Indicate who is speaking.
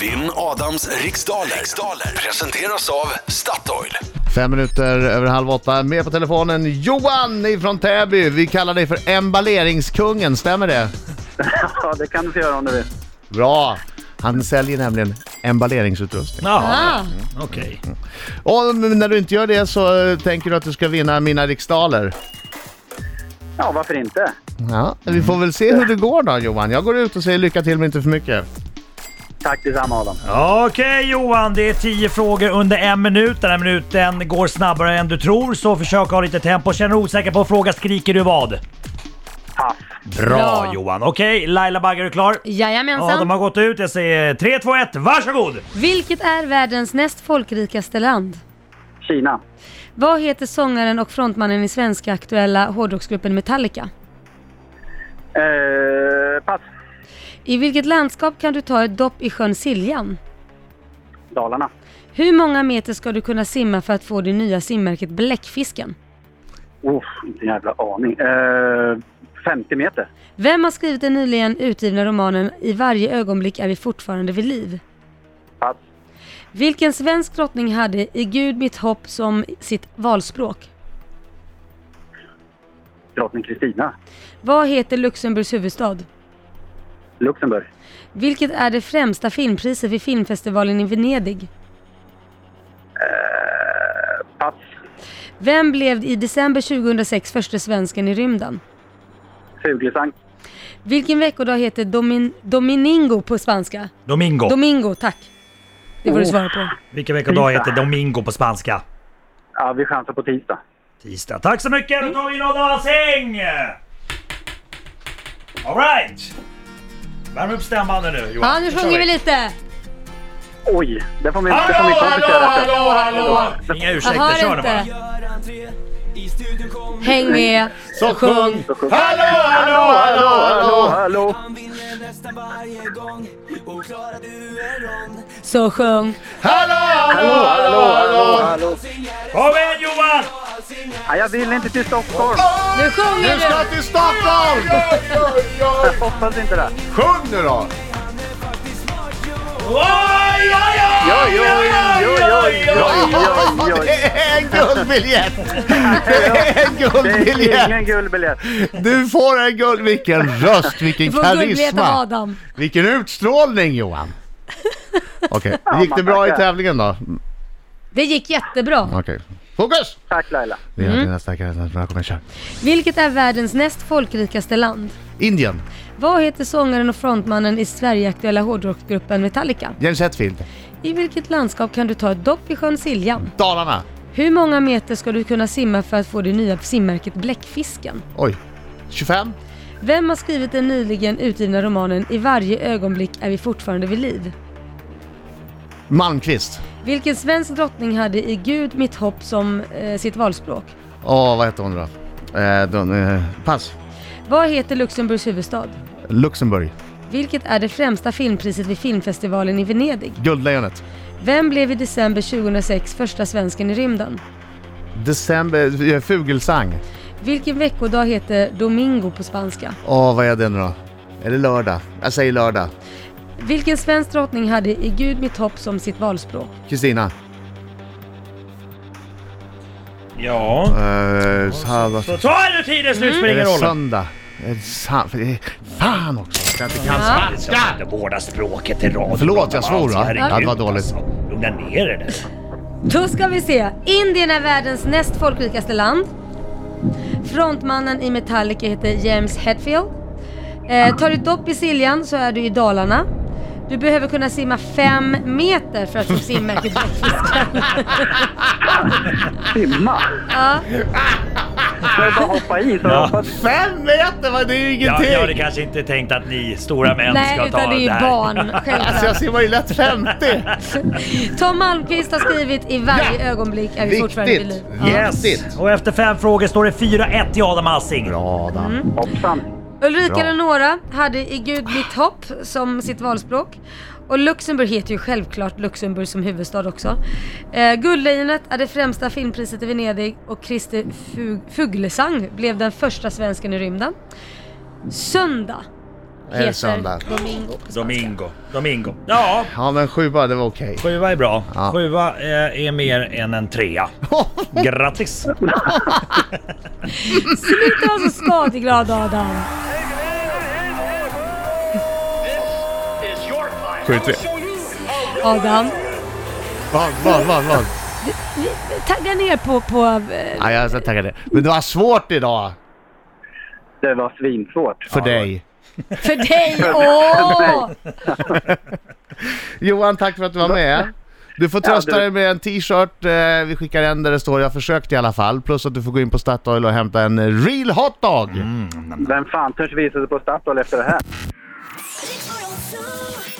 Speaker 1: Vinn Adams riksdaler. riksdaler presenteras av Statoil.
Speaker 2: Fem minuter över halv åtta. Med på telefonen Johan ifrån Täby. Vi kallar dig för emballeringskungen, stämmer det?
Speaker 3: Ja, det kan du få göra om du vill.
Speaker 2: Bra! Han säljer nämligen emballeringsutrustning.
Speaker 4: Ah.
Speaker 5: Ja, Mm. okej.
Speaker 2: Och när du inte gör det så eh, tänker du att du ska vinna mina riksdaler.
Speaker 3: Ja, varför inte?
Speaker 2: Ja, vi får väl se hur det går då Johan. Jag går ut och säger lycka till men inte för mycket.
Speaker 3: Tack detsamma Adam.
Speaker 5: Okej Johan, det är 10 frågor under en minut. Den här minuten går snabbare än du tror, så försök ha lite tempo. Känner du osäker på en fråga skriker du vad?
Speaker 3: Pass.
Speaker 5: Bra,
Speaker 4: Bra.
Speaker 5: Johan. Okej, Laila Bagge, är du klar? Ja,
Speaker 4: Jajamensan.
Speaker 5: de har gått ut. Jag säger 3, 2, 1, varsågod!
Speaker 4: Vilket är världens näst folkrikaste land?
Speaker 3: Kina.
Speaker 4: Vad heter sångaren och frontmannen i svenska aktuella hårdrocksgruppen Metallica?
Speaker 3: Eh, pass.
Speaker 4: I vilket landskap kan du ta ett dopp i sjön Siljan?
Speaker 3: Dalarna.
Speaker 4: Hur många meter ska du kunna simma för att få det nya simmärket Bläckfisken?
Speaker 3: Uff, inte en jävla aning. Eh, 50 meter.
Speaker 4: Vem har skrivit den nyligen utgivna romanen I varje ögonblick är vi fortfarande vid liv?
Speaker 3: Pass.
Speaker 4: Vilken svensk drottning hade I Gud mitt hopp som sitt valspråk?
Speaker 3: Drottning Kristina.
Speaker 4: Vad heter Luxemburgs huvudstad?
Speaker 3: Luxemburg.
Speaker 4: Vilket är det främsta filmpriset vid filmfestivalen i Venedig?
Speaker 3: Pass.
Speaker 4: Vem blev i december 2006 första svensken i rymden?
Speaker 3: Fuglesang.
Speaker 4: Vilken veckodag heter domin- Domingo på spanska?
Speaker 5: Domingo.
Speaker 4: Domingo, tack. Det får du svara på.
Speaker 5: Vilken veckodag heter Domingo på spanska?
Speaker 3: Ja, vi chansar på tisdag.
Speaker 5: Tisdag. Tack så mycket! Då tar vi in Adam Alsing! Alright! Värm upp stämbanden nu Johan.
Speaker 4: Ja, nu sjunger vi lite.
Speaker 3: Oj, det får min, det får
Speaker 5: Hallå,
Speaker 3: min kompis
Speaker 5: hallå,
Speaker 3: göra.
Speaker 5: hallå, hallå! Inga
Speaker 4: Jag
Speaker 5: ursäkter,
Speaker 4: hör
Speaker 5: kör nu bara.
Speaker 4: inte. Häng med.
Speaker 2: Så sjung!
Speaker 3: Hallå,
Speaker 2: Hallå, hallå,
Speaker 3: hallå,
Speaker 2: hallå!
Speaker 3: hallå!
Speaker 4: Så sjung.
Speaker 2: Hallå, hallå, hallå!
Speaker 5: Kom igen Johan!
Speaker 3: Ja, jag vill inte till Stockholm.
Speaker 4: Nu sjunger
Speaker 2: Du ska
Speaker 4: du.
Speaker 2: till Stockholm!
Speaker 3: Jag hoppas inte det.
Speaker 2: Sjung nu då!
Speaker 5: Oj, oj, oj,
Speaker 3: Oj, oj, oj, oj, oj, oj, oj.
Speaker 2: Det är en guldbiljett! Det är en
Speaker 3: Det är ingen
Speaker 2: guldbiljett!
Speaker 3: guldbiljett.
Speaker 2: Du får en guld... Vilken röst, vilken
Speaker 4: Du får guldbiljett av
Speaker 2: karisma!
Speaker 4: Adam.
Speaker 2: Vilken utstrålning Johan! Okej, gick det
Speaker 3: man
Speaker 2: bra i
Speaker 3: tackar.
Speaker 2: tävlingen då?
Speaker 4: Det gick jättebra.
Speaker 2: Okej. Fokus!
Speaker 3: Tack Laila.
Speaker 2: Vi gör
Speaker 3: Mm.
Speaker 2: dina starkare än bra. Kom igen, kör.
Speaker 4: Vilket är världens näst folkrikaste land?
Speaker 2: Indien.
Speaker 4: Vad heter sångaren och frontmannen i Sverigeaktuella hårdrockgruppen Metallica?
Speaker 2: Jens Hetfield.
Speaker 4: I vilket landskap kan du ta ett dopp i sjön Siljan?
Speaker 2: Dalarna.
Speaker 4: Hur många meter ska du kunna simma för att få det nya simmärket Bläckfisken?
Speaker 2: Oj. 25.
Speaker 4: Vem har skrivit den nyligen utgivna romanen I varje ögonblick är vi fortfarande vid liv?
Speaker 2: Malmqvist.
Speaker 4: Vilken svensk drottning hade I Gud mitt hopp som eh, sitt valspråk?
Speaker 2: Åh, vad hette hon då? Eh, de, eh, pass.
Speaker 4: Vad heter Luxemburgs huvudstad?
Speaker 2: Luxemburg.
Speaker 4: Vilket är det främsta filmpriset vid filmfestivalen i Venedig?
Speaker 2: Guldlejonet.
Speaker 4: Vem blev i december 2006 första svensken i rymden?
Speaker 2: December. eh, Fugelsang.
Speaker 4: Vilken veckodag heter Domingo på spanska?
Speaker 2: Åh, vad är det nu då? Är det lördag? Jag säger lördag.
Speaker 4: Vilken svensk drottning hade I Gud mitt hopp som sitt valspråk?
Speaker 2: Kristina.
Speaker 5: Ja.
Speaker 2: Eh, sa-
Speaker 5: Så tar du tiden slut spelar
Speaker 2: är
Speaker 5: ingen
Speaker 2: det
Speaker 5: roll.
Speaker 2: söndag? Är det sa- för det är- Fan också! att Jag inte kan
Speaker 4: Ja.
Speaker 5: Ska inte vårda språket i radio.
Speaker 2: Förlåt, jag svor, va?
Speaker 5: Herregud,
Speaker 2: Ja, det var dåligt.
Speaker 5: alltså. Lugna ner dig nu.
Speaker 4: Då ska vi se. Indien är världens näst folkrikaste land. Frontmannen i Metallica heter James Hetfield. Eh, tar du dopp i Siljan så är du i Dalarna. Du behöver kunna simma fem meter för att få simmärket Bläckfisken.
Speaker 3: Simma!
Speaker 4: Ja.
Speaker 3: Så jag bara hoppa i så
Speaker 5: Ja.
Speaker 3: hoppas
Speaker 2: Fem meter! vad- Det är ju
Speaker 5: Jag,
Speaker 2: ingenting!
Speaker 5: jag hade kanske inte tänkt att ni stora män
Speaker 4: Nej,
Speaker 5: ska ta
Speaker 4: utan det är ju
Speaker 5: här.
Speaker 4: barn.
Speaker 2: Alltså jag
Speaker 4: Självklart.
Speaker 2: simmar ju lätt 50!
Speaker 4: Tom Malmqvist har skrivit i varje ögonblick är vi fortfarande vid liv.
Speaker 2: Viktigt!
Speaker 4: Ja.
Speaker 2: Viktigt!
Speaker 5: Och efter fem frågor står det 4-1 till Adam Alsing.
Speaker 2: Bra Adam.
Speaker 5: Mm.
Speaker 3: hoppsan.
Speaker 4: Ulrika
Speaker 2: Bra.
Speaker 4: Leonora hade i Gud mitt hopp som sitt valspråk. Och Luxemburg heter ju självklart Luxemburg som huvudstad också. Eh, Guldlejonet är det främsta filmpriset i Venedig och Christer Fug- Fuglesang blev den första svensken i rymden. Söndag
Speaker 2: är det
Speaker 4: heter
Speaker 2: söndag.
Speaker 4: Domingo. på spanska.
Speaker 5: Domingo. Domingo. Ja,
Speaker 2: Ja men sju bara, det var okej.
Speaker 5: sjua är bra.
Speaker 2: Ja.
Speaker 5: Sjua eh, är mer än en trea. Grattis!
Speaker 4: Sluta vara så skadeglad Adam.
Speaker 6: Skjut vi?
Speaker 4: Adam,
Speaker 2: Vad, vad, vad, vad?
Speaker 4: tagga ner på... på eh,
Speaker 2: Nej jag ska tacka dig. Men det var svårt idag
Speaker 3: Det var svinsvårt.
Speaker 2: för dig.
Speaker 4: för dig! Åh!
Speaker 2: Johan, tack för att du var med. Du får trösta
Speaker 3: Ja, du-
Speaker 2: dig med en t-shirt. eh, Vi skickar en där det står “Jag försökte i alla fall”. Plus att du får gå in på Statoil och hämta en real hotdog.
Speaker 3: Vem fan törs visa sig på Statoil efter det här?
Speaker 7: Riks 2.